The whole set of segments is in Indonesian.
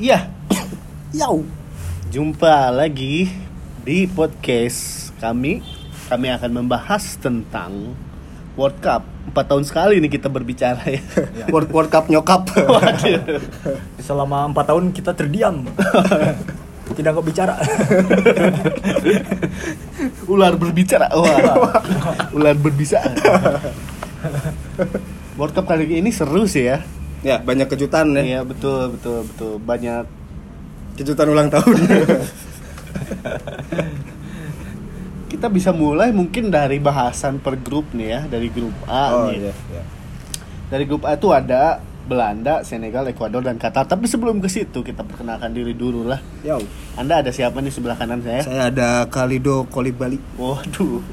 Iya, Yow. jumpa lagi di podcast kami. Kami akan membahas tentang World Cup. Empat tahun sekali nih kita berbicara ya. World, World Cup nyokap. Waduh. Selama empat tahun kita terdiam. Tidak kok bicara. Ular berbicara. Wah. Ular berbicara. World Cup kali ini seru sih ya. ya, banyak kejutan ya. Iya betul betul betul banyak Kejutan ulang tahun. kita bisa mulai mungkin dari bahasan per grup nih ya dari grup A oh nih. iya, iya. Dari grup A itu ada Belanda, Senegal, Ekuador dan Qatar. Tapi sebelum ke situ kita perkenalkan diri dulu lah. Yow. Anda ada siapa nih sebelah kanan saya? Ya, um. Saya ada Kalido Kolibali. Waduh.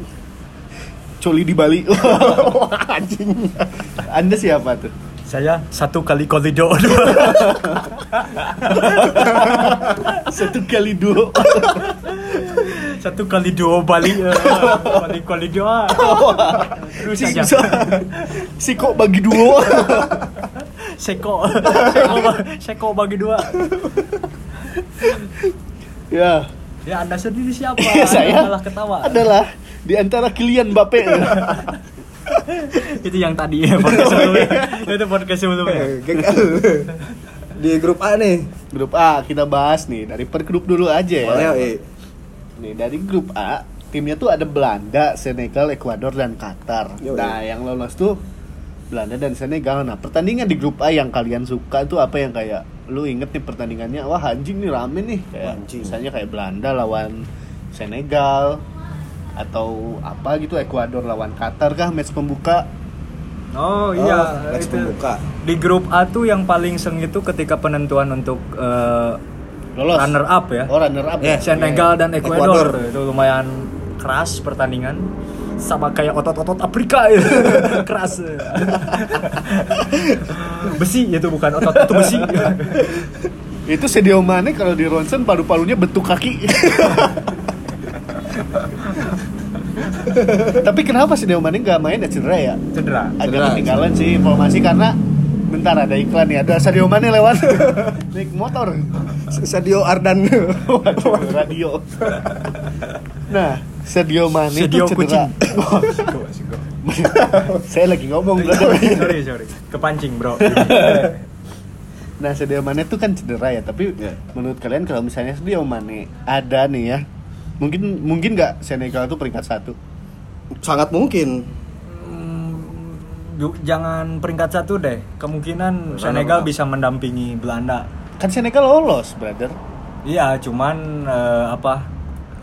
Coli di Bali. Wah, Anjing. Anda siapa tuh? Saya satu kali kolido. Satu kali duo. satu kali duo Bali. eh, Bali kolido. ah. Terus Si, aja. si kok bagi duo. Seko. Seko, ba- Seko bagi dua. ya. Ya Anda sendiri siapa? Iya, Anda saya malah ketawa. adalah di antara kalian Bape. Itu yang tadi ya, podcast sebelumnya. Iya. Itu podcast Oh, sebelumnya. Eh, gagal. Di grup A nih. grup A kita bahas nih dari per grup dulu aja ya. Boleh, eh. Nih dari grup A timnya tuh ada Belanda, Senegal, Ekuador dan Qatar. Yo, nah yo. yang lolos tuh Belanda dan Senegal. Nah pertandingan di grup A yang kalian suka tuh apa yang kayak lu inget nih pertandingannya? Wah anjing nih rame nih. Kayak, Anjing. Misalnya kayak Belanda lawan Senegal atau apa gitu Ekuador lawan Qatar kah match pembuka? Oh iya, Oh, match pembuka. Di grup A tuh yang paling seng itu ketika penentuan untuk eh, Lolos. runner up ya. Oh runner up. ya? Eh, Senegal dan Ekuador, Ekuador. tuh. itu lumayan keras pertandingan sama kayak otot-otot Afrika ya. keras besi itu bukan otot itu besi Itu Sadio Mane kalau di ronsen paru-parunya bentuk kaki. Tapi kenapa Sadio Mane nggak main ya cedera ya? cedera Agak Cedera, ketinggalan sih informasi karena bentar ada iklan ya. Ada Sadio Mane lewat naik motor. Sadio Ardan. Waduh, radio. Nah, Sadio Mane Sadio itu cedera. Oh, Saya lagi ngomong Iya, brother. sorry sorry kepancing bro Nah, Sadio Mane itu kan cedera ya, tapi Iya. menurut kalian kalau misalnya Sadio Mane ada nih ya, mungkin mungkin nggak Senegal itu peringkat satu. Sangat mungkin. Ju- jangan peringkat satu deh kemungkinan Senegal bisa mendampingi Belanda Kan Senegal lolos, brother. Iya, cuman eh, apa?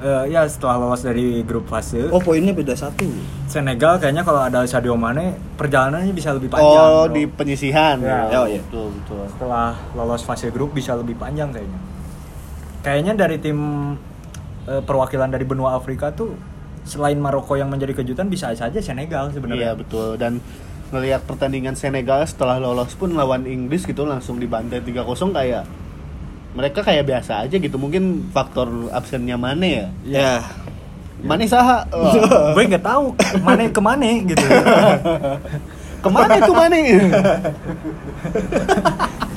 Eh, ya setelah lolos dari grup fase, Oh, poinnya beda satu. Senegal kayaknya kalau ada Sadio Mane perjalanannya bisa lebih panjang. oh, bro. di penyisihan. Ya. Oh, Iya. Betul, betul. setelah lolos fase grup bisa lebih panjang kayaknya. Kayaknya dari tim eh, perwakilan dari benua Afrika tuh selain Maroko yang menjadi kejutan bisa saja Senegal Iya, sebenarnya. betul. Dan melihat pertandingan Senegal setelah lolos pun lawan Inggris gitu langsung dibantai 3-0 kayak mereka kayak biasa aja gitu. Mungkin faktor absennya Mane ya. Ya. Mane saha? Wah. Gue nggak tahu kemana kemana gitu. Kemana tuh Mane?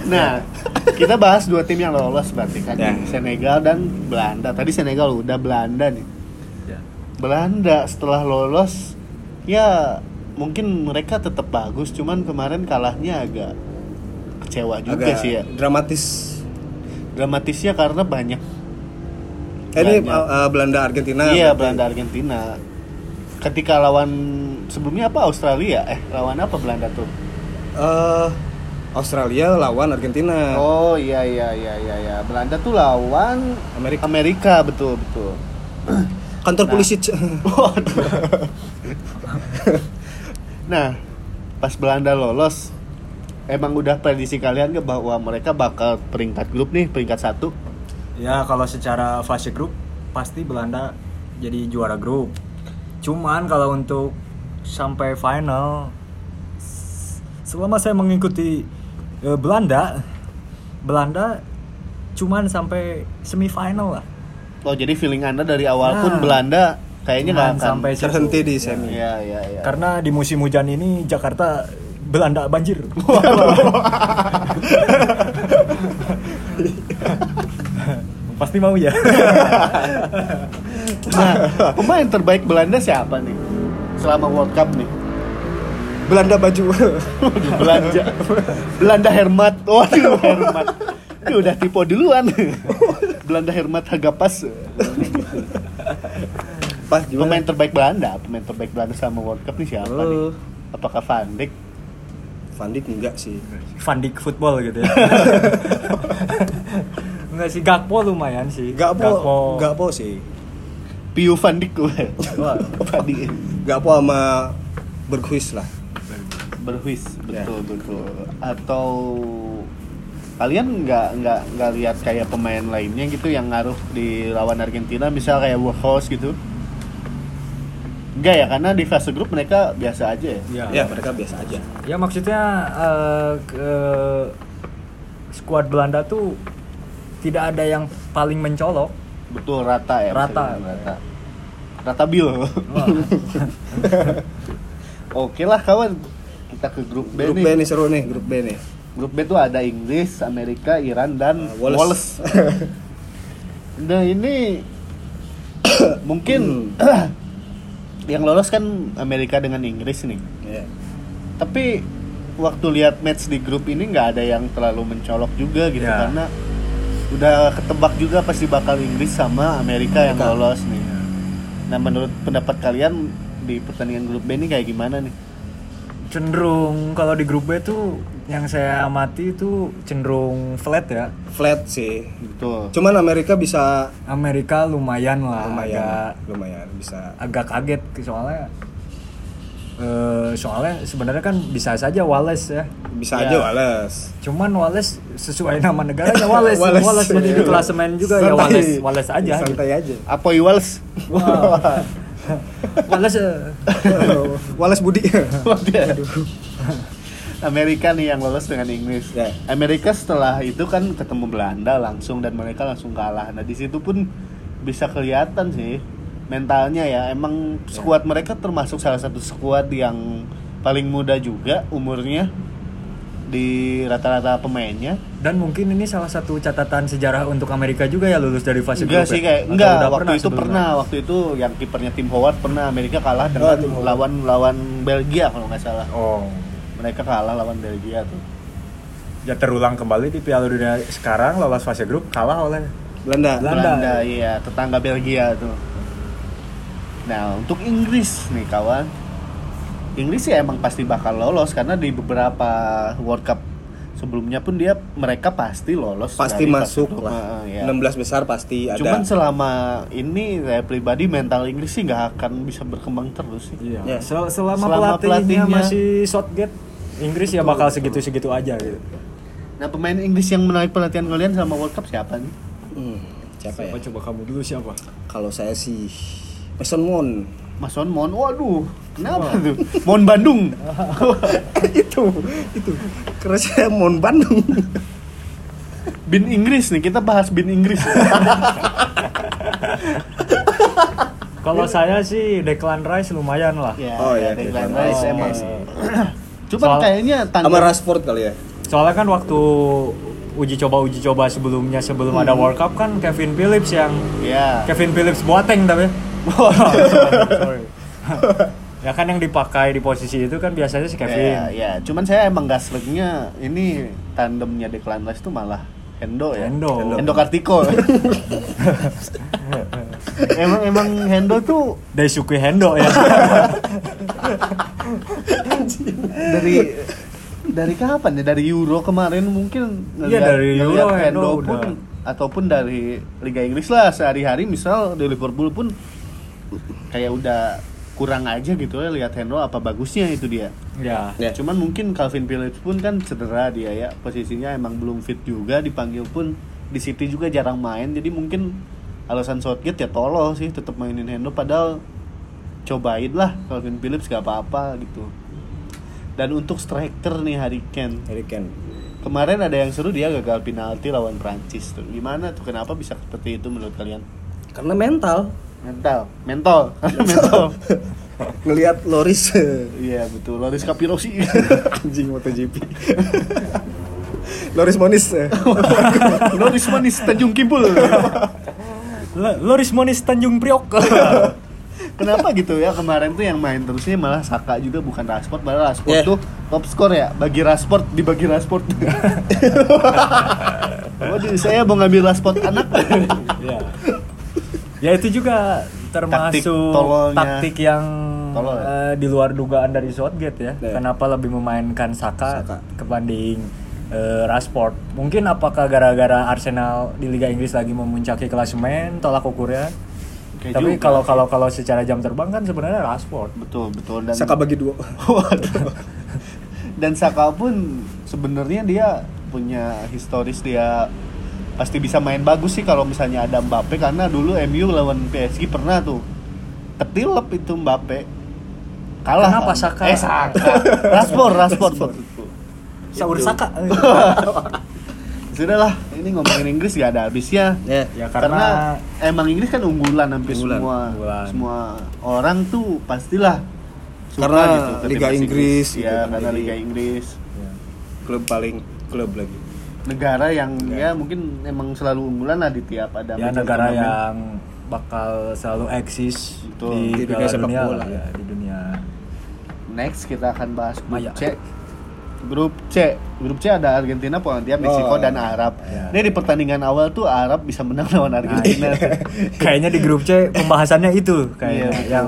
nah, kita bahas dua tim yang lolos berarti kan Ya. Senegal dan Belanda. Tadi Senegal udah Belanda nih. Ya. Belanda setelah lolos ya mungkin mereka tetap bagus cuman kemarin kalahnya agak kecewa juga Agak sih ya. dramatis. Dramatisnya karena banyak Eh, ini Banyak. uh, uh, Belanda Argentina. iya berarti. Belanda Argentina. Ketika lawan sebelumnya apa Australia eh lawan apa Belanda tuh? Eh, Australia lawan Argentina. Oh iya iya iya iya iya. Belanda tuh lawan Amerika. Amerika betul betul. Kantor Nah. polisi. C- nah, pas Belanda lolos emang udah prediksi kalian ke bahwa mereka bakal peringkat grup nih, peringkat satu. Ya kalau secara fase grup pasti Belanda jadi juara grup. Cuman kalau untuk sampai final, s- selama saya mengikuti eh, Belanda, Belanda cuman sampai semifinal lah. Oh, jadi feeling Anda dari awal pun Nah. Belanda Ya, kayaknya nggak Cuman akan sampai ya, situ. terhenti di semi. Iya, iya, iya. Karena di musim hujan ini Jakarta Belanda banjir. Pasti mau ya. Nah, pemain terbaik Belanda siapa nih? Selama World Cup nih. Belanda baju. Belanja. Belanda Hermat. Waduh, Hermat. Ini udah tipe duluan. Belanda Hermat harga pas. Pas Pemain terbaik Belanda, pemain terbaik Belanda selama World Cup nih siapa nih? Oh. Apakah Van Dijk? Van Dijk enggak sih. Van Dijk football gitu ya. Enggak sih Gakpo lumayan sih. Enggak po, enggak po sih. Piu Van Dijk gue. Wah. Van Dijk. Enggak po sama Berghuis lah. Berhuis, betul betul. Atau kalian nggak nggak nggak lihat kayak pemain lainnya gitu yang ngaruh di lawan Argentina misal kayak Workhorse gitu Enggak ya karena di fase grup mereka biasa aja ya Ya. Ya, mereka biasa aja. Ya maksudnya eh, ke- skuad Belanda tuh tidak ada yang paling mencolok. betul rata ya bisa Rata. dibilang rata rata bil Wah, oke lah kawan kita ke grup B Grup B nih nih seru nih, grup B nih. grup B tuh ada Inggris Amerika Iran dan Uh, Wallace, Wallace. nah ini mungkin yang lolos kan Amerika dengan Inggris nih Ya. tapi waktu lihat match di grup ini nggak ada yang terlalu mencolok juga gitu Ya. karena udah ketebak juga pasti bakal Inggris sama Amerika yang Amerika. lolos nih. Nah menurut pendapat kalian di pertandingan grup B ini kayak gimana nih? cenderung kalau di grup B tuh yang saya amati itu cenderung flat ya. Flat sih. Betul. Cuman Amerika bisa Amerika lumayan lah, lumayan, agak lumayan bisa. agak kaget soalnya. eh, soalnya sebenarnya kan bisa saja Wallace ya. Bisa Ya. aja Wallace. Cuman Wallace sesuai nama negaranya Wallace, Wallace, jadi di klasemen juga ya Iya. Santai. Wallace, Wallace aja. gitu. Santai aja. Apoy Wals. Wah. Wallace eh, Wallace Budi. Amerika nih yang lolos dengan Inggris. Ya. Amerika setelah itu kan ketemu Belanda langsung dan mereka langsung kalah. Nah di situ pun bisa kelihatan sih mentalnya ya. Emang skuad mereka termasuk salah satu skuad yang paling muda juga umurnya di rata-rata pemainnya. dan mungkin ini salah satu catatan sejarah untuk Amerika juga ya lulus dari fase enggak grup sih ya? kayak Atau enggak udah waktu itu sebelumnya? pernah waktu itu yang kipernya tim Howard pernah Amerika kalah dengan Tim Howard. lawan lawan Belgia kalau nggak salah. Oh. Mereka kalah lawan Belgia tuh. Ya terulang kembali di Piala Dunia sekarang lolos fase grup kalah oleh Belanda. ya. Belanda. iya tetangga Belgia tuh. Nah untuk Inggris nih kawan, Inggris ya emang pasti bakal lolos karena di beberapa World Cup sebelumnya pun dia mereka pasti lolos. Pasti dari masuk fase grup. lah. Heeh, iya. 16 besar pasti ada. Cuman selama ini saya pribadi mental Inggris sih nggak akan bisa berkembang terus sih. Iya. Ya. Sel- Selama, Selama pelatihnya, pelatihnya- masih shotgate Inggris ya Betul, bakal betul. segitu-segitu aja gitu. Nah pemain Inggris yang menarik perhatian kalian sama World Cup siapa nih? Hmm, siapa ya? Siapa coba kamu dulu siapa? Kalau saya sih Mason Mount. Mason Mon, waduh, kenapa tuh? Mon Bandung. itu, itu. Karena saya Mount Bandung. Bin Inggris nih, kita bahas bin Inggris. Kalau saya sih Declan Rice lumayan lah. Ya, Oh, ya, iya, Declan Declan Rice Rice. emang. Oke. Cuman Soal- kayaknya Sama tanggal Rashford kali ya. Soalnya kan waktu uji coba uji coba sebelumnya sebelum ada World Cup kan Kevin Phillips yang ya. Kevin Phillips Boateng tapi. Oh, sorry, sorry. ya kan yang dipakai di posisi itu kan biasanya si Ya, Kevin. ya, cuman saya emang gak selegnya ini tandemnya Declan Rice tuh malah Hendo ya. Hendo. Hendo Kartiko. emang emang Hendo tuh Daisuke Hendo ya. dari dari kapan ya dari Euro kemarin mungkin Iya, ngeliat- dari ngeliat Euro, Hendo Hendo pun udah. ataupun dari Liga Inggris lah sehari-hari misal di Liverpool pun kayak udah kurang aja gitu ya lihat Hendo apa bagusnya itu dia ya. Ya. cuman mungkin Calvin Phillips pun kan cedera dia ya posisinya emang belum fit juga dipanggil pun di City juga jarang main jadi mungkin alasan Southgate ya tolol sih tetap mainin Hendo padahal cobain lah Calvin Phillips gak apa-apa gitu dan untuk striker nih Harry Kane Harry Kane. kemarin ada yang seru dia gagal penalti lawan Prancis tuh gimana tuh kenapa bisa seperti itu menurut kalian Karena mental. mental mental mental Ngelihat Loris iya betul Loris Kapirosi anjing MotoGP. Loris Monis. eh. Loris Manis Tanjung Kimpul. L- Loris Monis Tanjung Priok. Kenapa gitu ya kemarin tuh yang main terusnya malah Saka juga bukan Rashford, malah Rashford Yeah. tuh top skor ya bagi Rashford dibagi Rashford. Waduh, saya mau ngambil Rashford anak. ya. ya itu juga Taktik termasuk taktik, tololnya. yang Tolol ya? eh, di luar dugaan dari Southgate ya. Ya. Kenapa lebih memainkan Saka, Saka. kebanding eh, Rashford? Mungkin apakah gara-gara Arsenal di Liga Inggris lagi memuncaki klasemen tolak ukurnya? Oke Tapi juga. kalau kalau kalau secara jam terbang kan sebenarnya Rashford. betul betul dan Saka bagi dua. Waduh. Dan Saka pun sebenarnya dia punya historis dia pasti bisa main bagus sih kalau misalnya ada Mbappe karena dulu MU lawan PSG pernah tuh ketilep itu Mbappe kalah Kenapa kan? Saka? eh Saka Rashford Rashford Saur Saka. sudahlah ini ngomongin Inggris gak ada habisnya Ya. ya karena, karena, emang Inggris kan unggulan hampir Unggulan. semua Unggulan. semua orang tuh pastilah suka Karena gitu ke Liga timnas Inggris ya gitu. karena Jadi- Liga Inggris Ya. Klub paling klub lagi. negara yang ya mungkin emang selalu unggulan lah di tiap ada ya major negara turnamen. yang bakal selalu eksis Betul. di, Di dunia dunia sepak dunia bola. lah ya, di dunia next kita akan bahas grup Maya. C grup C grup C ada Argentina Polandia Meksiko Oh. dan Arab Ya. Nah, ini di pertandingan awal tuh Arab bisa menang lawan Argentina iya. kayaknya di grup C pembahasannya itu kayaknya Iya, betul. yang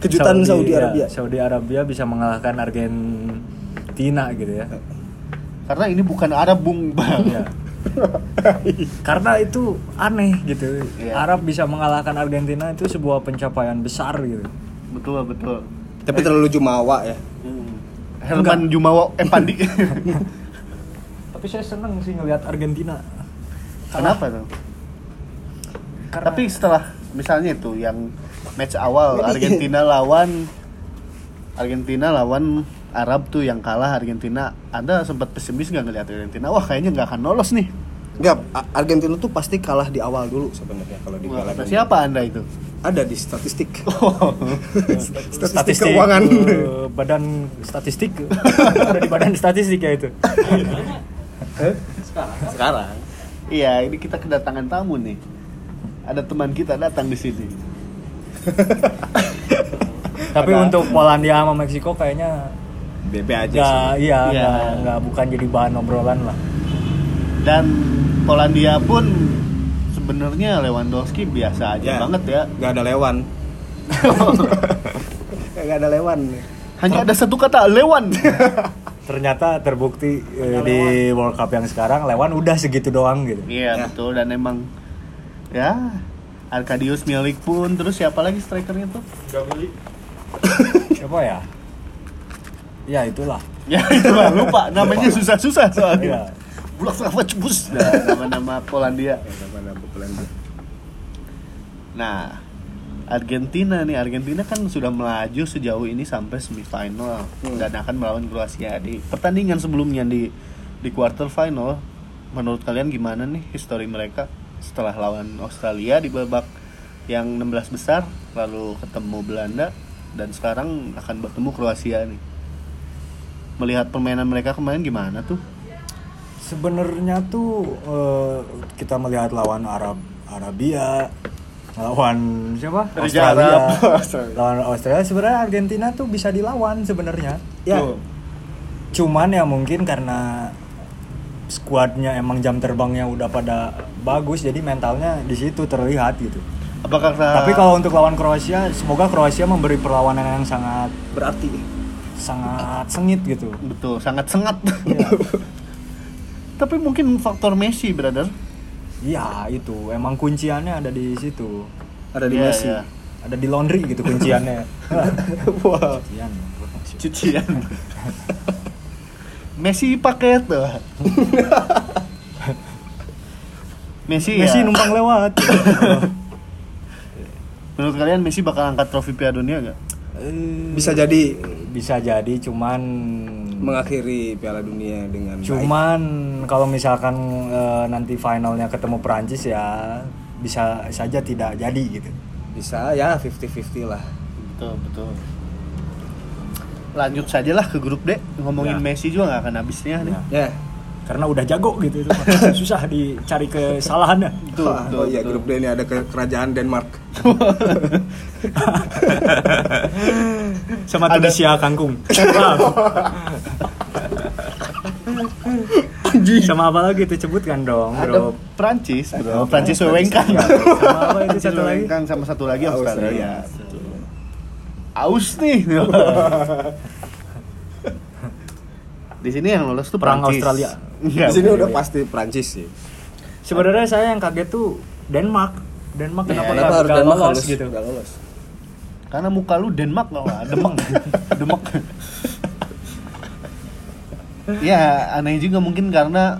Kejutan Saudi ya, Arabia. Saudi Arabia bisa mengalahkan Argentina gitu ya. karena ini bukan Arab bung bang Iya. Karena itu aneh gitu. Iya. Arab bisa mengalahkan Argentina itu sebuah pencapaian besar gitu. betul betul Tapi terlalu jumawa ya. Herman Jumawa eh Pandi Tapi saya seneng sih ngelihat Argentina. kenapa tuh Karena tapi setelah misalnya itu yang match awal Argentina lawan Argentina lawan Arab tuh yang kalah Argentina Anda sempat pesimis nggak ngelihat Argentina wah kayaknya nggak akan lolos nih Enggak, A- Argentina tuh pasti kalah di awal dulu sebenarnya kalau di Wah, Piala kata Dunia. Nah, siapa Oh, Anda itu Ada di statistik. statistik, statistik keuangan. eh, badan statistik ada di badan statistik ya itu Sekarang iya ini kita kedatangan tamu nih ada teman kita datang di sini tapi Ada- untuk Polandia sama Meksiko kayaknya BB aja nggak sih. iya Iya. nggak nggak bukan jadi bahan obrolan lah dan Polandia pun sebenarnya Lewandowski biasa aja Ya. banget ya Enggak ada lewan. Enggak ada lewan. hanya ada satu kata Lewan ternyata terbukti eh, di World Cup yang sekarang Lewan udah segitu doang gitu Iya Ya. betul dan emang ya Arkadius Milik pun terus siapa lagi strikernya tuh? siapa ya ya itulah Ya itu lah lupa namanya susah-susah Iya. soalnya. Bulak sama cebus Nah, nama-nama Polandia. Nah, Argentina nih Argentina kan sudah melaju sejauh ini sampai semifinal Hmm. dan akan melawan Kroasia di pertandingan sebelumnya di di quarter final. Menurut kalian gimana nih histori mereka setelah lawan Australia di babak yang 16 besar lalu ketemu Belanda dan sekarang akan bertemu Kroasia nih. Melihat permainan mereka kemarin gimana tuh? sebenarnya tuh eh, kita melihat lawan Arab Arabia lawan siapa Raja Australia Arab. Australia. lawan Australia sebenarnya Argentina tuh bisa dilawan sebenarnya Ya. Tuh. cuman ya mungkin karena skuadnya emang jam terbangnya udah pada bagus jadi mentalnya di situ terlihat gitu Apakah Eh. tapi kalau untuk lawan Kroasia semoga Kroasia memberi perlawanan yang sangat Berarti sangat sengit gitu betul sangat sengat. Iya. Tapi mungkin faktor Messi, brother. Iya itu emang kunciannya ada di situ ada di Iya, Messi. iya. ada di laundry gitu kunciannya Wah. Kuncian. cucian Messi pakai tuh Iya. Messi, Messi ya, numpang lewat menurut kalian Messi bakal angkat trofi Piala Dunia gak? Eh, Bisa jadi bisa jadi cuman mengakhiri Piala Dunia dengan baik. cuman kalau misalkan eh, nanti finalnya ketemu Perancis ya bisa saja tidak jadi gitu bisa ya 50-50 lah. Betul, betul Lanjut sajalah ke grup D Ngomongin Ya. Messi juga gak akan habisnya nih Ya. Ya. karena udah jago gitu itu mah. susah dicari kesalahannya Betul, Ah, betul, oh iya betul. grup D ini ada ke- kerajaan Denmark. sama Ada- Tunisia kangkung Wow. sama apa lagi itu sebutkan dong Ada bro Prancis, bro. Ada Prancis Wewengkang. Iya, sama apa itu Prancis satu lagi Wewengkang kan sama satu lagi Australia. Australia. Betul. Aus nih. Di sini yang lolos tuh Perang Prancis. Iya. Australia. Enggak, Di sini bukan. udah pasti Prancis sih. sebenarnya saya yang kaget tuh Denmark Denmark Ya, kenapa, kenapa nggak- harus nggak Denmark lolos harus- gitu nggak lolos. Karena muka lu Denmark loh, Demek. Demek. ya aneh juga mungkin karena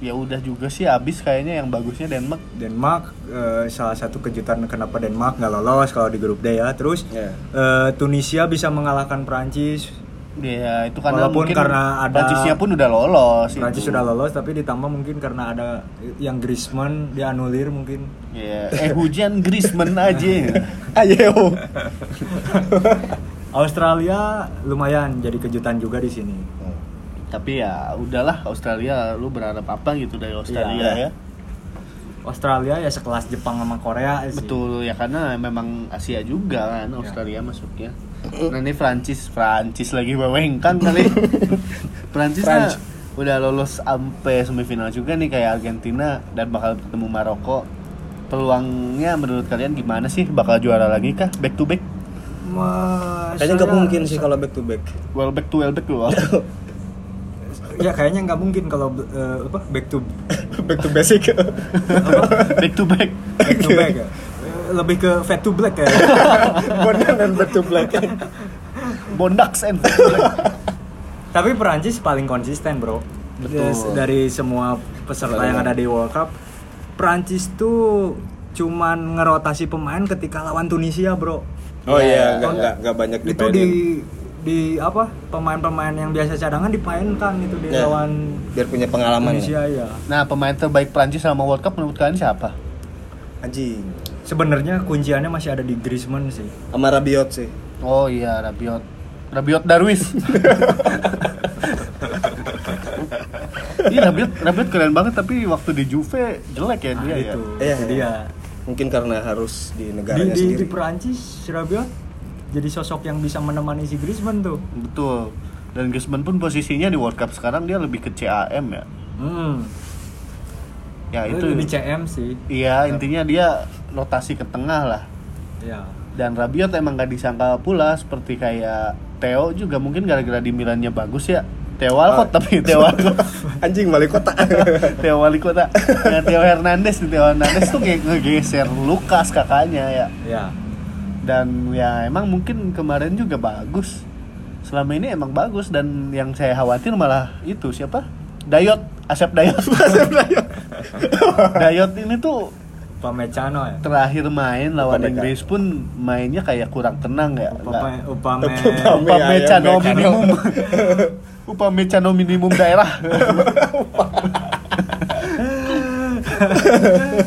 ya udah juga sih abis kayaknya yang bagusnya Denmark Denmark eh, salah satu kejutan kenapa Denmark nggak lolos kalau di grup D ya terus Iya. eh, Tunisia bisa mengalahkan Prancis ya itu karena Walaupun mungkin karena ada- Prancisnya pun udah Iya. lolos Iya. Prancis itu. sudah lolos tapi ditambah mungkin karena ada yang Griezmann dianulir mungkin Ya, eh hujan Griezmann aja. Ayo. Australia lumayan jadi kejutan juga di sini Tapi ya udahlah Australia lu berharap apa gitu dari Australia ya? Iya. Australia ya sekelas Jepang sama Korea sih. Iya. Betul ya karena memang Asia juga kan Australia masuknya. Nah ini Prancis, Prancis lagi bawengkan kali. Prancis nah, Franc. udah lolos sampai semifinal juga nih kayak Argentina dan bakal ketemu Maroko. Peluangnya menurut kalian gimana sih? Bakal juara lagi kah? Back to back? Ma- Kayaknya nggak saya- mungkin sih kalau back to back. Well back to well back loh. Ya kayaknya nggak mungkin kalau eh, apa back to back to basic. back to back. back to back ya. Iya. Eh, Lebih ke fat to black ya. Bonan dan back to black. Bondax and back to back. Tapi Perancis paling konsisten, Bro. Betul. Yes, Dari semua peserta yang ada di World Cup, Perancis tuh cuman ngerotasi pemain ketika lawan Tunisia, Bro. Oh Ya, iya, nggak kan? nggak nggak banyak Itu dipainin. di di apa? Pemain-pemain yang biasa cadangan dipainkan itu di Ya, lawan biar punya pengalaman. Tunisia ya. Nah, pemain terbaik Prancis selama World Cup menurut kalian siapa? Anjing. Sebenarnya kunciannya masih ada di Griezmann sih. Sama Rabiot sih. Oh iya, Rabiot. Rabiot Darwis. Ini Rabiot, Rabiot keren banget tapi waktu di Juve jelek ya dia Nah, ya. itu, Iya, itu iya. dia. Mungkin karena harus di Di, di, negaranya di sendiri. Perancis, Rabiot jadi sosok yang bisa menemani si Griezmann tuh. Betul. Dan Griezmann pun posisinya di World Cup sekarang dia lebih ke CAM ya. Hmm. Ya Itu itu. di CM sih. Iya, intinya dia rotasi ke tengah lah. Ya. Dan Rabiot emang gak disangka pula seperti kayak Theo juga mungkin gara-gara di Milannya bagus ya. Theo Walcott Oh. tapi Theo Walcott. Anjing balik kota. Theo wali kota Nah, Theo Hernandez nih Theo Hernandez tuh kayak ngegeser Lukas kakaknya ya Ya. dan ya emang mungkin kemarin juga bagus selama ini emang bagus dan yang saya khawatir malah itu siapa Dayot Asep Dayot Asep Dayot Dayot ini tuh Upamecano ya. terakhir main lawan Upamecano. Inggris pun mainnya kayak kurang tenang ya Upame Nggak- Upame Upame- Upamecano Upamecano. minimum Upamecano minimum daerah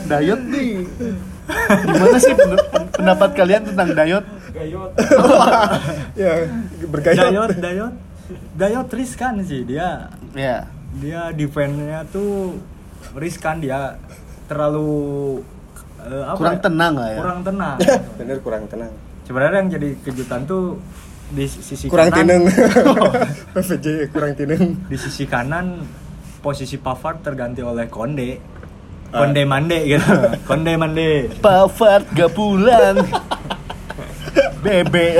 Dayot nih Gimana sih pen- pen- pendapat kalian tentang Dayot? Dayot. ya, Dayot Nah, bergayot. Dayot. Dayot riskan kan sih dia. Ya Dia defense-nya tuh riskan dia terlalu eh, apa Kurang ya? tenang lah ya Kurang tenang. Bener kurang tenang. Sebenarnya yang jadi kejutan tuh di sisi Kurang kanan. tineng. PVJ kurang tineng. Di sisi kanan posisi Pavard terganti oleh Konde. Ah. Konde Mande gitu. Konde Mande. Pavard gak pulang Bebe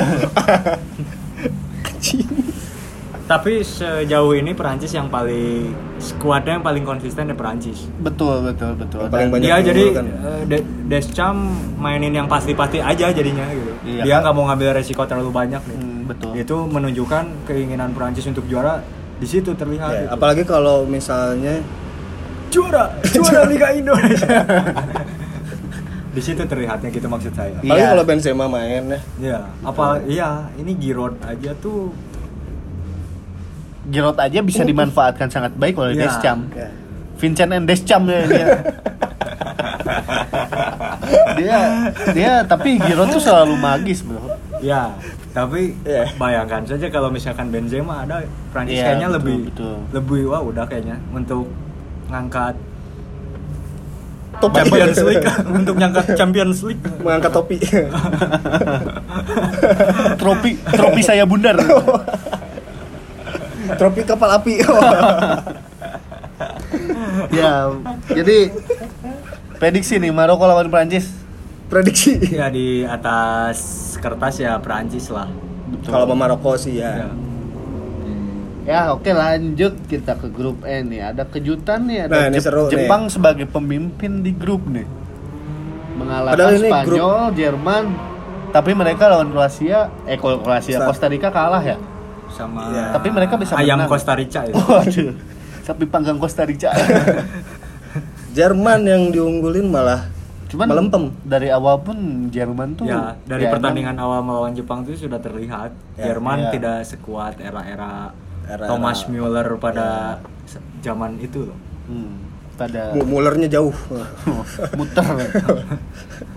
Tapi sejauh ini Perancis yang paling skuadnya yang paling konsisten di Perancis. Betul betul betul Yang paling Dan- banyak ya? dia jadi mengulurkan. eh, De- Deschamps mainin yang pasti-pasti aja jadinya gitu. Iya. Dia nggak mau ngambil resiko terlalu banyak nih. Hmm, Betul Itu menunjukkan keinginan Perancis untuk juara di situ Nah, terlihat. Ya, gitu. apalagi kalau misalnya juara, juara Liga Indonesia. di situ terlihatnya gitu maksud saya. Iya. apalagi kalau Benzema main ya. Iya, apa iya ini Giroud aja tuh Giroud aja bisa dimanfaatkan sangat baik oleh Iya. Deschamps Ya. Vincent and Deschamps ya dia. dia dia tapi Giroud tuh selalu magis bro ya Tapi Iya. bayangkan saja kalau misalkan Benzema ada Prancis Iya, kayaknya betul, lebih betul. lebih wah udah kayaknya untuk ngangkat Topi. Champions League untuk ngangkat Champions League. Mengangkat topi. tropi tropi saya bundar Tropi kapal api. Oh, ya jadi prediksi nih Maroko lawan Prancis Prediksi. Ya di atas kertas ya Prancis lah. Betul. Kalau sama Maroko sih ya. Iya. Ya Ya. oke lanjut kita ke grup E nih Ada kejutan nih ada Nah, ini seru nih. Jepang sebagai pemimpin di grup nih Padahal Mengalahkan ini Spanyol, Jerman Tapi mereka lawan Kroasia Eh kalau Kroasia, Sa- Costa Rica kalah ya Sama Ya. Iya. Tapi mereka bisa ayam menang. Oh, Costa Rica ya. Waduh Sapi panggang Costa Rica Jerman yang diunggulin malah Cuman melempem. dari awal pun Jerman tuh Ya, ya, dari pertandingan awal melawan Jepang itu sudah terlihat Ya, ya. Jerman tidak sekuat era-era Era-era. Thomas Müller Iya. pada se- zaman itu loh. emang, hmm, pada Mu- Mullernya jauh. muter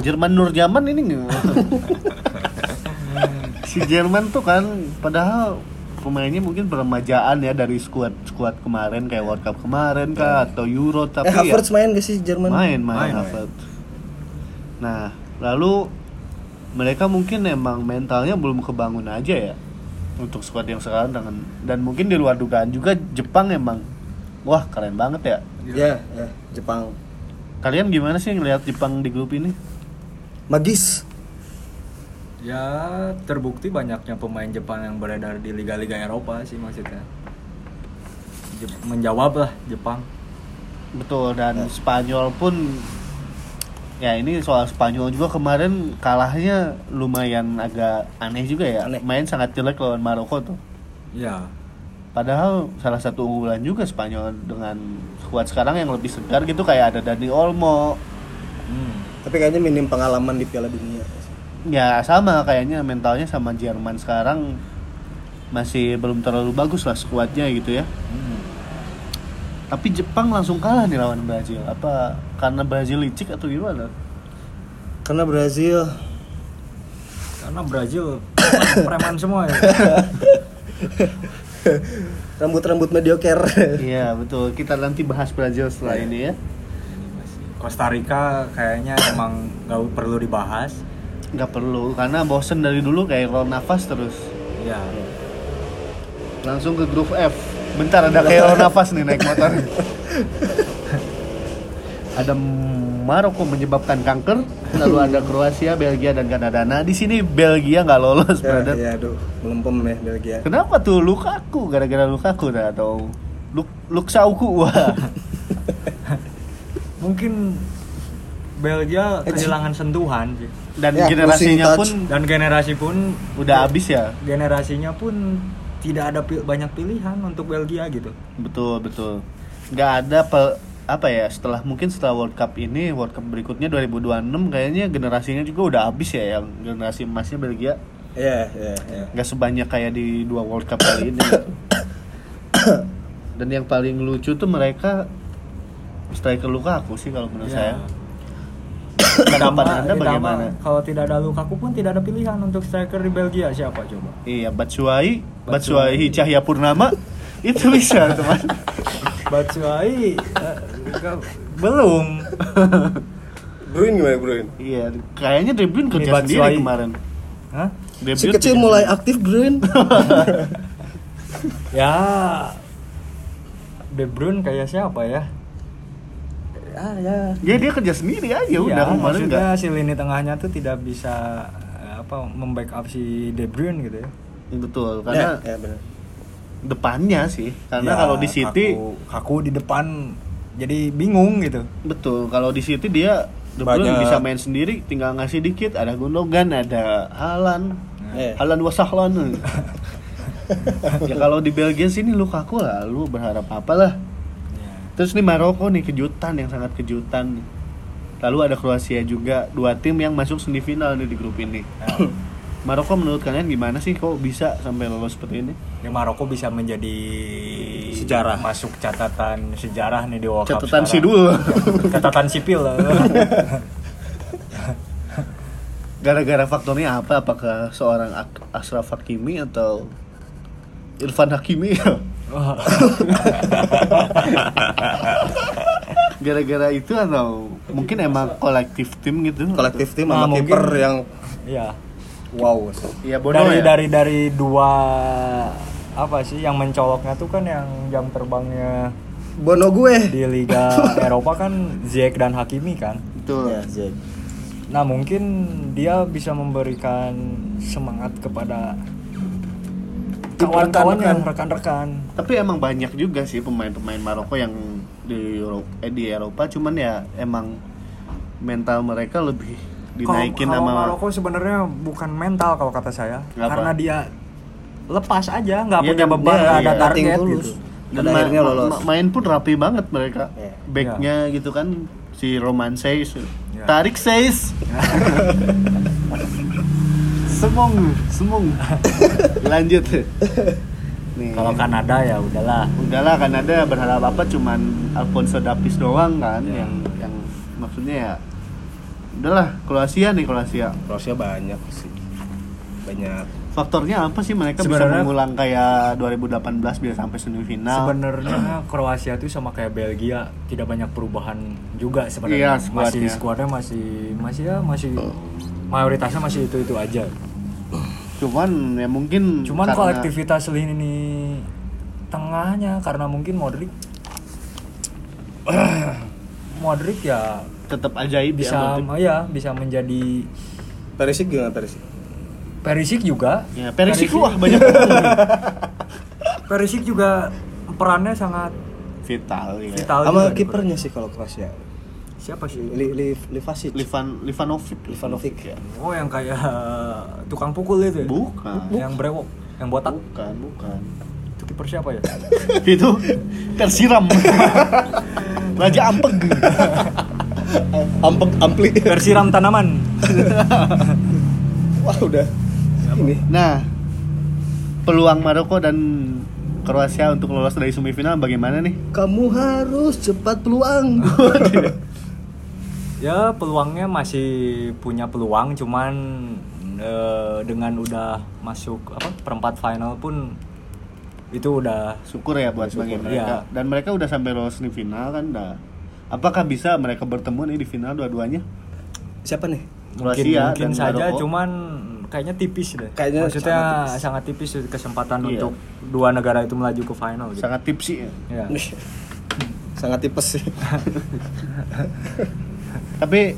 Jerman Nur Jaman ini nggak si Jerman tuh kan padahal pemainnya mungkin peremajaan ya dari skuad skuad kemarin kayak World Cup kemarin kah atau Euro tapi eh ya Havertz main gak sih Jerman? main main, Main, Havertz. nah lalu mereka mungkin emang mentalnya belum kebangun aja ya untuk skuad yang sekarang dengan dan mungkin di luar dugaan juga Jepang emang wah keren banget ya Ya, ya, Jepang. kalian gimana sih ngelihat Jepang di grup ini Magis. Ya, terbukti banyaknya pemain Jepang yang beredar di liga-liga Eropa sih maksudnya. Jep- menjawab lah Jepang. Betul dan Spanyol pun ya ini soal Spanyol juga kemarin kalahnya lumayan agak aneh juga ya. Aneh. Main sangat jelek lawan Maroko tuh. Ya, Padahal salah satu unggulan juga Spanyol dengan kuat sekarang yang lebih segar gitu kayak ada Dani Olmo. hmm. Tapi kayaknya minim pengalaman di Piala Dunia. Ya sama kayaknya mentalnya sama Jerman sekarang masih belum terlalu bagus lah skuadnya gitu ya. Hmm. Tapi Jepang langsung kalah nih lawan Brazil. Apa karena Brazil licik atau gimana? Karena Brazil Karena Brazil preman semua ya. rambut-rambut mediocre. Iya betul. Kita nanti bahas Brazil setelah ini ya. Ini masih- Costa Rica kayaknya emang nggak perlu dibahas. Nggak perlu karena bosen dari dulu kayak kalau nafas terus. Ya, Langsung ke grup F. Bentar ada kayak nafas nih naik motor. ada Maroko menyebabkan kanker, lalu ada Kroasia, Belgia dan Kanada. Nah di sini Belgia nggak lolos, ya, brother. ya, aduh, melempem ya Belgia. Kenapa tuh Lukaku? Gara-gara Lukaku dah atau Luk Luksauku wah. mungkin Belgia kehilangan sentuhan sih. Dan Ya, generasinya losing touch. pun Dan generasi pun udah habis ya. generasinya pun tidak ada pil- banyak pilihan untuk Belgia gitu. Betul betul. Nggak ada pe- apa ya setelah mungkin setelah World Cup ini World Cup berikutnya 2026 kayaknya generasinya juga udah habis ya yang generasi emasnya Belgia Ya, ya, ya. nggak sebanyak kayak di dua World Cup kali ini. Dan yang paling lucu tuh mereka striker luka aku sih kalau menurut Ya. saya. Pendapat Ditambah- anda ditambah bagaimana? Kalau tidak ada Lukaku pun tidak ada pilihan untuk striker di Belgia siapa coba? Iya, Batshuayi, Batshuayi. Batshuayi Cahya Purnama itu bisa teman. Batshuayi eh, ke- belum. Bruin gimana Bruin? Iya, kayaknya De Bruyne kerja Batshuayi. sendiri kemarin. Hah? De Si Bruyne kecil kerja mulai aktif Bruin. Ya De Bruyne kayak siapa ya? ah, ya. Ya dia kerja sendiri aja udah kemarin Ya, maksudnya enggak. si lini tengahnya tuh tidak bisa eh, apa membackup si De Bruyne gitu ya. Betul, karena ya, ya, benar. depannya sih. Karena Ya, kalau di City kaku, kaku di depan jadi bingung gitu. betul, kalau di City dia De Bruyne Banyak. bisa main sendiri, tinggal ngasih dikit, ada Gundogan, ada Halan. Nah, Eh. Halan wasahlan. ya kalau di Belgia sini Lukaku lah, lu berharap apalah. Ya. Terus nih Maroko nih kejutan yang sangat kejutan. Lalu ada Kroasia juga, dua tim yang masuk semifinal nih di grup ini. Ah. Maroko menurut kalian gimana sih kok bisa sampai lolos seperti ini? Ya, Maroko bisa menjadi Sejarah. masuk catatan sejarah nih di World Cup Catatan sekarang. sidul. catatan sipil lah. Gara-gara faktornya apa? Apakah seorang Ak- Ashraf Hakimi atau Irfan Hakimi? Gara-gara itu atau mungkin emang kolektif tim gitu? kolektif tim Nah, sama mungkin- kiper yang Iya. wow Iya bodoh dari ya. dari dari dua apa sih yang mencoloknya tuh kan yang jam terbangnya bono gue di Liga Eropa kan Ziyech dan Hakimi kan. Betul. Ya, Jack. Nah mungkin dia bisa memberikan semangat kepada Tim kan? kawan-kawannya, rekan-rekan. rekan-rekan. Tapi emang banyak juga sih pemain-pemain Maroko yang di Euro- eh, di Eropa cuman ya emang mental mereka lebih dinaikin Kalau- sama kalau Maroko sebenarnya bukan mental kalau kata saya, Kenapa? karena dia lepas aja, nggak Iya, punya dan beban, dia- nggak ada iya, nothing target to lose. gitu. dan Pada ma- akhirnya lolos. ma- main pun rapi banget mereka Iya. backnya gitu kan si Roman Seis Iya. tarik Seis semong semong lanjut nih Kalau Kanada ya udahlah. udahlah Kanada kan berharap apa cuman Alfonso Davis doang kan Iya. yang yang maksudnya ya udahlah Kroasia nih Kroasia Kroasia banyak sih banyak faktornya apa sih mereka bisa Sebenarnya- mengulang kayak 2018 biar sampai semifinal Sebenarnya Kroasia itu sama kayak Belgia, tidak banyak perubahan Iya, juga Oh. sebenarnya. skuadnya. masih skuadnya masih masih ya masih mayoritasnya masih itu itu aja. cuman ya mungkin Cuman karena- kolektivitas lini tengahnya karena mungkin Modric Modric ya tetap ajaib bisa ya, Modric. ya bisa menjadi Perisik gimana Perisik Perisic juga. ya Perisic wah banyak banget. Perisic juga perannya sangat vital ya vital juga sama di kipernya sih kalau Kroasia Kroasia. Siapa sih? Li, li, Livasic Livan Livanovic Livanovic ya Oh, yang kayak tukang pukul itu ya? bukan Yang brewok, yang botak. bukan bukan Itu kiper siapa ya? itu tersiram Raja Ampeg ampek Eh, ampli Bersiram tanaman. wah udah ini nah peluang Maroko dan Kroasia untuk lolos dari semifinal bagaimana nih kamu harus cepat peluang Ya, peluangnya masih punya peluang cuman eh, dengan udah masuk apa perempat final pun itu udah syukur ya buat bagi mereka ya. dan mereka udah sampai lolos semifinal kan dah apakah bisa mereka bertemu nih di final dua-duanya siapa nih mungkin Kroasia mungkin dan saja Maroko. cuman kayaknya tipis deh. Kayaknya Maksudnya sangat sangat tipis, kesempatan Iya. untuk dua negara itu melaju ke final gitu. sangat tipsi ya Ya. sangat tipes sih Tapi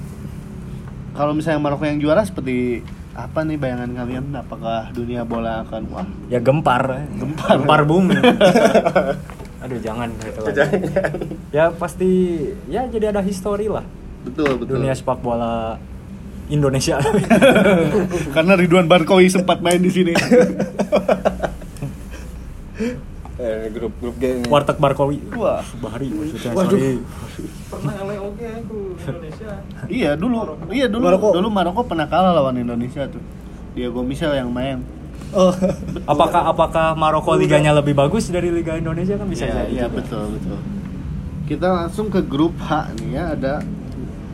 kalau misalnya Maroko yang juara seperti apa nih bayangan kalian? Apakah dunia bola akan wah Ya gempar, gempar, gempar bumi. Aduh jangan gitu lagi. Ya pasti ya jadi ada histori lah betul dunia sepak bola Indonesia. Karena Ridwan Barkoi sempat main di sini. eh, grup grup G ini Warteg Barkowi. Wah. Bahari maksudnya. Waduh. sorry. iya dulu, iya dulu Maroko. dulu Maroko pernah kalah lawan Indonesia tuh. Diego Michel yang main. oh Apakah apakah Maroko liganya lebih bagus dari Liga Indonesia kan bisa Iya, jadi. iya juga. betul betul. Kita langsung ke grup H nih ya ada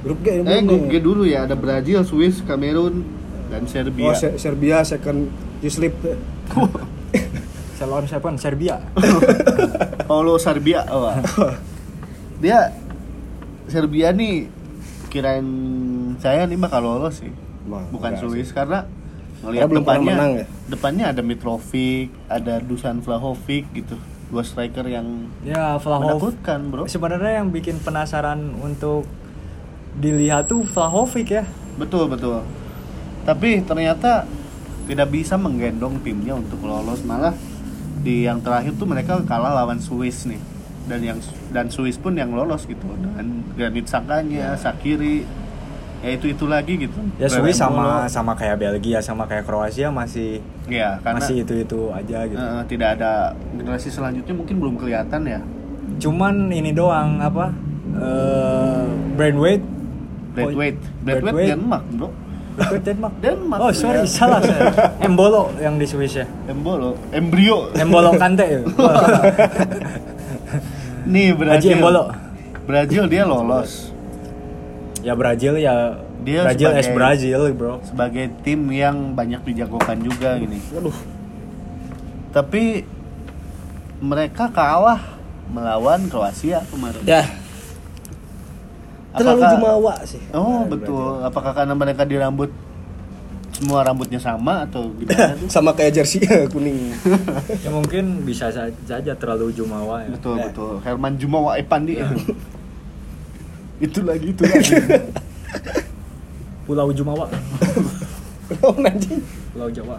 grup G ini eh belum grup G nih. dulu ya ada Brazil, Swiss, Kamerun dan Serbia. oh Se- Serbia second you sleep Saya lawan siapa? Serbia. Paulo Serbia oh, ah. dia Serbia nih kirain saya nih bakal lolos sih Wah, bukan enggak Swiss karena ngelihat belum pernah depannya menang ya? depannya ada Mitrovic ada Dusan Vlahovic gitu dua striker yang Ya, Vlahovic. menakutkan bro Sebenarnya yang bikin penasaran untuk dilihat tuh Vlahovic ya. betul betul tapi ternyata tidak bisa menggendong timnya untuk lolos malah di yang terakhir tuh mereka kalah lawan Swiss nih dan yang dan Swiss pun yang lolos gitu dan Granit Sakanya, Sakiri ya itu itu lagi gitu Ya Swiss Brembolo. sama sama kayak Belgia sama kayak Kroasia masih ya karena masih itu-itu aja gitu. eh, tidak ada generasi selanjutnya mungkin belum kelihatan ya Cuman ini doang apa? Eh Oh, Brainwave Bradwaite Bradwaite Braithwaite. Denmark bro Brainwave Denmark. Denmark Oh, sorry, ya. salah saya. Embolo yang di Swiss ya. Embolo Embrio Embolo Kante ya. Nih Brazil. Haji Embolo. Brazil dia lolos. Ya Brazil ya Dia Brazil es sebagai- Brazil, Bro. sebagai tim yang banyak dijagokan juga gini. Waduh. Tapi mereka kalah melawan Kroasia kemarin. Ya. Terlalu Apakah- jumawa sih. Oh Kemarin betul. Apakah karena mereka dirambut semua rambutnya sama atau gimana tuh? Sama kayak jersey kuning. Ya mungkin bisa sa- saja terlalu jumawa ya. betul Ya. betul. Herman Jumawa Epandi itu. itu lagi itu lagi. Pulau Jumawa, Oh nanti. Pulau Jawa.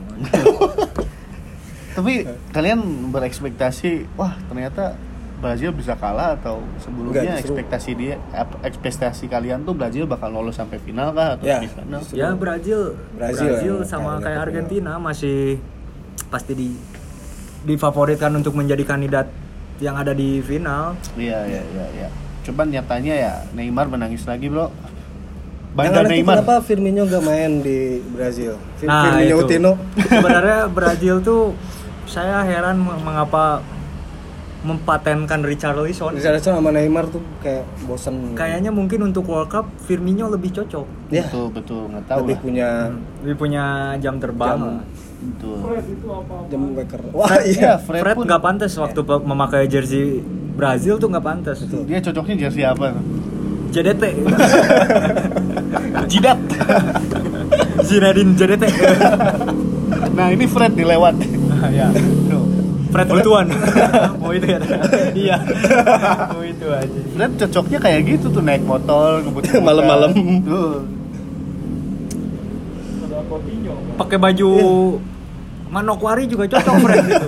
Tapi kalian berekspektasi, wah ternyata Brazil bisa kalah atau sebelumnya Enggak, justru- ekspektasi dia ap- ekspektasi kalian tuh Brazil bakal lolos sampai final kah atau Ya, semifinal? justru. ya Brazil, Brazil, Brazil, ya. sama Ya, kayak ya. Argentina masih pasti di difavoritkan untuk menjadi kandidat yang ada di final. Iya iya iya iya. Cuman nyatanya ya Neymar menangis lagi, Bro. Yang Bandar aneh tuh Neymar. Kenapa Firmino gak main di Brazil? Fir- Nah, Firmino itu. Utino. Sebenarnya Brazil tuh saya heran meng- mengapa mempatenkan Richarlison. Richarlison sama Neymar tuh kayak bosan. Kayaknya mungkin untuk World Cup Firmino lebih cocok. ya. Betul betul nggak tahu Lebih lah. punya Lebih punya jam terbang. Jam. lah. Betul. Ya, jam waker. Wah iya. Fred, Fred, pun nggak pantas waktu pe- memakai jersey Brazil tuh nggak pantas. Betul. dia cocoknya jersey apa? JDT, Jidat. Zinedine JDT, nah, ini Fred dilewat. ya. Tuh. Fred Butuan, mau itu ya? iya, mau itu aja. Fred cocoknya kayak gitu tuh naik motor ngebut-ngebutan. Malam-malam. Tuh. Pakai baju Eh. Manokwari juga cocok Fred. Gitu.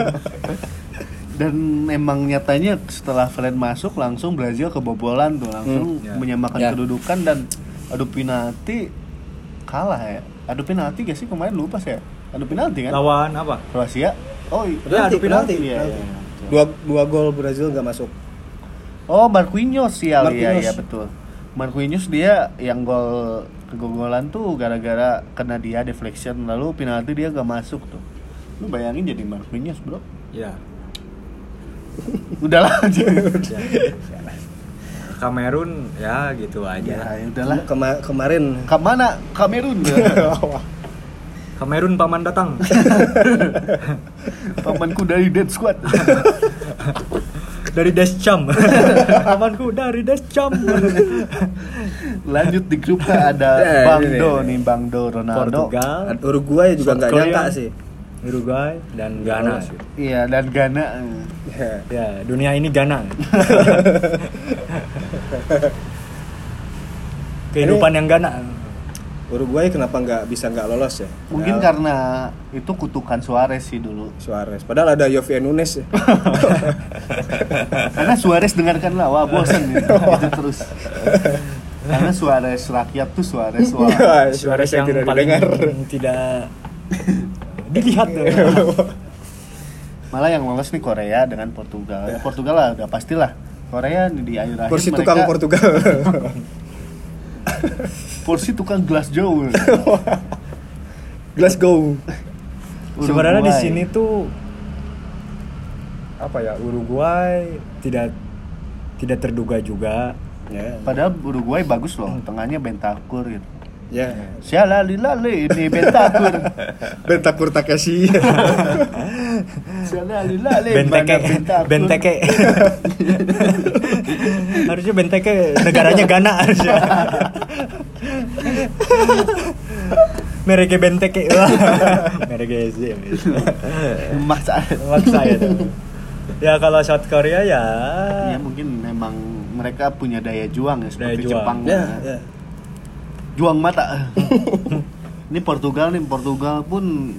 Dan emang nyatanya setelah Fred masuk langsung Brazil kebobolan tuh langsung Hmm, ya. menyamakan Ya. kedudukan dan adu penalti kalah ya. Adu penalti gak sih kemarin lupa saya. Adu penalti kan? Lawan apa? Kroasia. Oh, i- Ya, adu penalti. Iya, penalti. iya, iya. Dua dua gol Brazil gak masuk. Oh, Marquinhos ya, iya Marquinhos. iya betul. Marquinhos dia yang gol kegogolan tuh gara-gara kena dia deflection lalu penalti dia gak masuk tuh. Lu bayangin jadi Marquinhos, Bro. Ya. Udahlah aja. Kamerun ya gitu aja. ya, udahlah. Kema- kemarin Ke mana? Kamerun. Kamerun paman datang. Pamanku dari Dead Squad. dari Descham. Pamanku dari Descham. Lanjut di grup H ada Ya, Bang ini, Do ini. nih, Bang Do Ronaldo. Eh, Portugal, Uruguay juga South nggak Korea. nyangka sih. Uruguay dan Ghana. Lolos, ya. Iya, dan Ghana. Ya. Ya, dunia ini Ghana. Kehidupan yang Ghana. Uruguay kenapa nggak bisa nggak lolos ya? Mungkin Padahal karena itu kutukan Suarez sih dulu. Suarez. Padahal ada Yofi Nunes ya. Karena Suarez dengarkan lah, wah bosan nih, itu terus. Karena Suarez rakyat tuh Suarez Iya. wah. Suarez, yang, tidak paling didengar. Ya, tidak dilihat. Malah yang lolos nih Korea dengan Portugal. Iya. Portugal lah udah pastilah. Korea nih di akhir akhir Kursi tukang Portugal. Porsi tukang gelas jauh. Glasgow. Sebenarnya di Uruguay. sini tuh apa ya Uruguay tidak tidak terduga juga. Ya. Padahal Uruguay bagus loh, tengahnya Bentakur gitu. Ya. Sialalilale ini Bentakur. Bentakur Takeshi. Sialalilale Benteke, mana Bentakur. Benteke. harusnya Benteke negaranya Ghana harusnya. Mereka Benteke. Wah. Mereka SDM. Maksa. Maksa ya. Ya kalau South Korea ya. Ya mungkin memang mereka punya daya juang ya seperti Daya juang. Jepang. ya, Nah. ya. juang mata. ini Portugal nih Portugal pun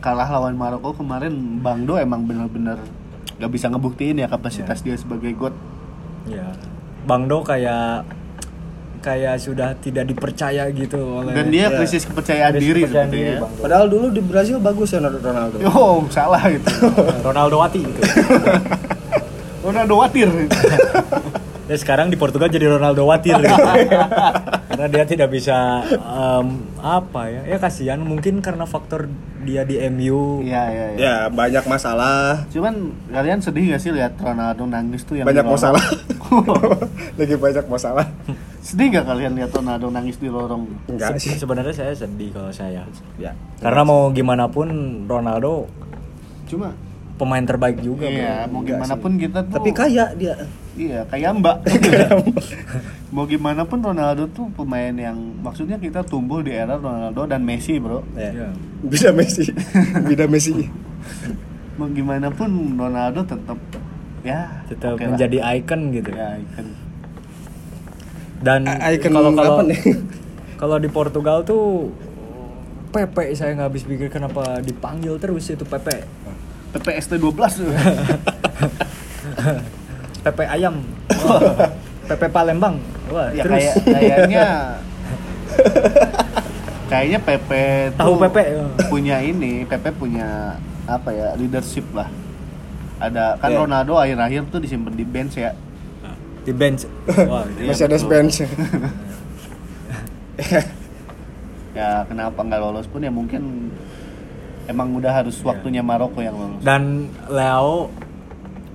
kalah lawan Maroko kemarin Bang Do emang bener-bener gak bisa ngebuktiin ya kapasitas dia sebagai god. Ya. Bang Do kayak kayak sudah tidak dipercaya gitu oleh Dan dia Iya. krisis kepercayaan diri kepercayaan seperti diri, ya. Bang Do. Padahal dulu di Brazil bagus ya Ronaldo. Oh, salah itu. Ronaldo Wati gitu. Ronaldo watir. Ya sekarang di Portugal jadi Ronaldo Watir gitu. karena dia tidak bisa em, apa ya ya kasihan mungkin karena faktor dia di MU Iya, iya, iya. Ya, banyak masalah. Cuman kalian sedih gak sih lihat Ronaldo nangis tuh yang banyak di lawan? masalah. Lagi banyak masalah. Sedih gak kalian lihat Ronaldo nangis di lorong? Enggak Se- sih. Sebenarnya saya sedih kalau saya. Ya. Karena mau gimana pun Ronaldo Cuma pemain terbaik juga, Bro. Iya, mau Enggak gimana sih. pun kita tuh Tapi kaya dia. Iya, kayak Mbak. mau gimana pun Ronaldo tuh pemain yang maksudnya kita tumbuh di era Ronaldo dan Messi, Bro. Ya. Iya. Bisa Messi. Bisa Messi. Mau gimana pun Ronaldo tetap ya Tetap oke lah. menjadi icon gitu. ya icon. Dan A- icon kalau kalau apa nih? kalau di Portugal tuh Pepe saya nggak habis pikir kenapa dipanggil terus itu Pepe. PPST 12 tuh. Pepe ayam. Wah. Pepe Palembang. Wah, ya terus kayak kayaknya kayaknya PP tuh Tahu Pepe, ya. punya ini PP punya apa ya leadership lah ada kan Ya. Iya. Ronaldo akhir-akhir tuh disimpan di bench ya di bench. Wah, Iya, Masih ada betul. Spence. ya kenapa nggak lolos pun ya mungkin emang udah harus waktunya Maroko yang lolos Ya. Dan Leo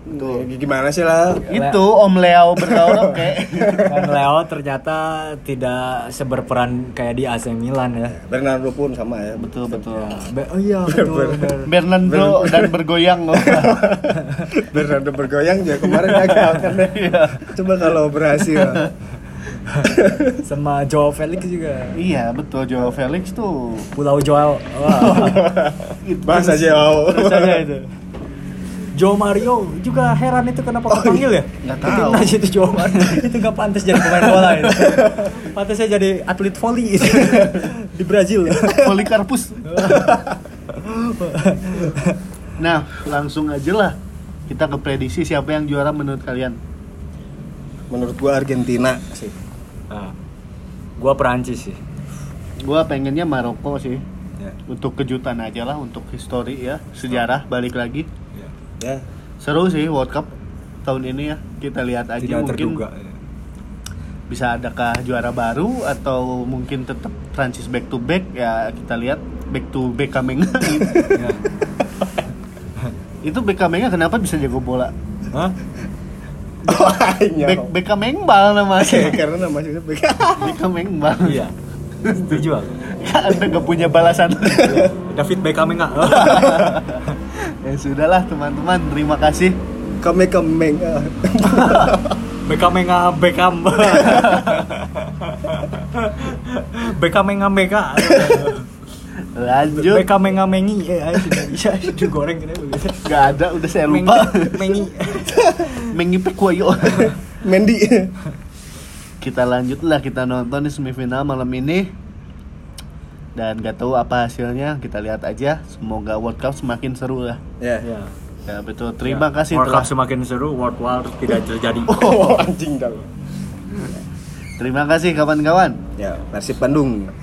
Tuh. Ya, Gimana sih lah? itu Om Leo bertaurok kayak dan Leo ternyata tidak seberperan kayak di AC Milan ya. Bernardo pun sama ya. betul betul Be- oh iya betul. bener. Bernardo dan bergoyang loh Bernardo bergoyang ya kemarin gagal kan. Iya. Coba kalau berhasil. Sama Joao Felix juga. iya betul Joao Felix tuh Pulau Joao. Wah. Bahasa Jawa. terus aja itu Joao Mario juga heran itu kenapa kepanggil ya? Nggak Ke tahu. Timnas itu Joao Mario. itu nggak pantas jadi pemain bola itu. Pantasnya jadi atlet volley itu. di Brazil. Iya. Polikarpus. nah, langsung aja lah kita ke prediksi siapa yang juara menurut kalian. Menurut gua Argentina sih. Nah, gua Perancis sih. Gua pengennya Maroko sih. Ya. Untuk kejutan aja lah, untuk histori ya, sejarah balik lagi. ya. Ya. Seru sih World Cup tahun ini ya. Kita lihat aja Tidak mungkin terduga. ya. bisa adakah juara baru atau mungkin tetap Prancis back to back ya kita lihat back to back coming. Ya. Itu Bekamengnya kenapa bisa jago bola? Hah? Oh, Ya, hanya. Bek Bekamengmbal namanya. Karena namanya Bek. Bekamengmbal. Iya. Setuju aku. Anda gak punya balasan. David Beckham enggak? ya sudahlah teman-teman, terima kasih. Kame kemeng. ah. Beckham enggak Beckham. Beckham enggak Mega. Lanjut. Beckham enggak Mengi. Eh, ayo sudah bisa digoreng kena begitu. Gak ada, udah saya Mengi, lupa. Mengi. Mengipek wayo. Mendy. Ya, kita lanjutlah kita nonton di semifinal malam ini. Dan gak tahu apa hasilnya, kita lihat aja. Semoga World Cup semakin seru lah. Ya. Ya. Ya betul, terima kasih World telah Cup semakin seru, World War tidak terjadi. Oh, anjing dah. terima kasih kawan-kawan. Ya, Persib Bandung.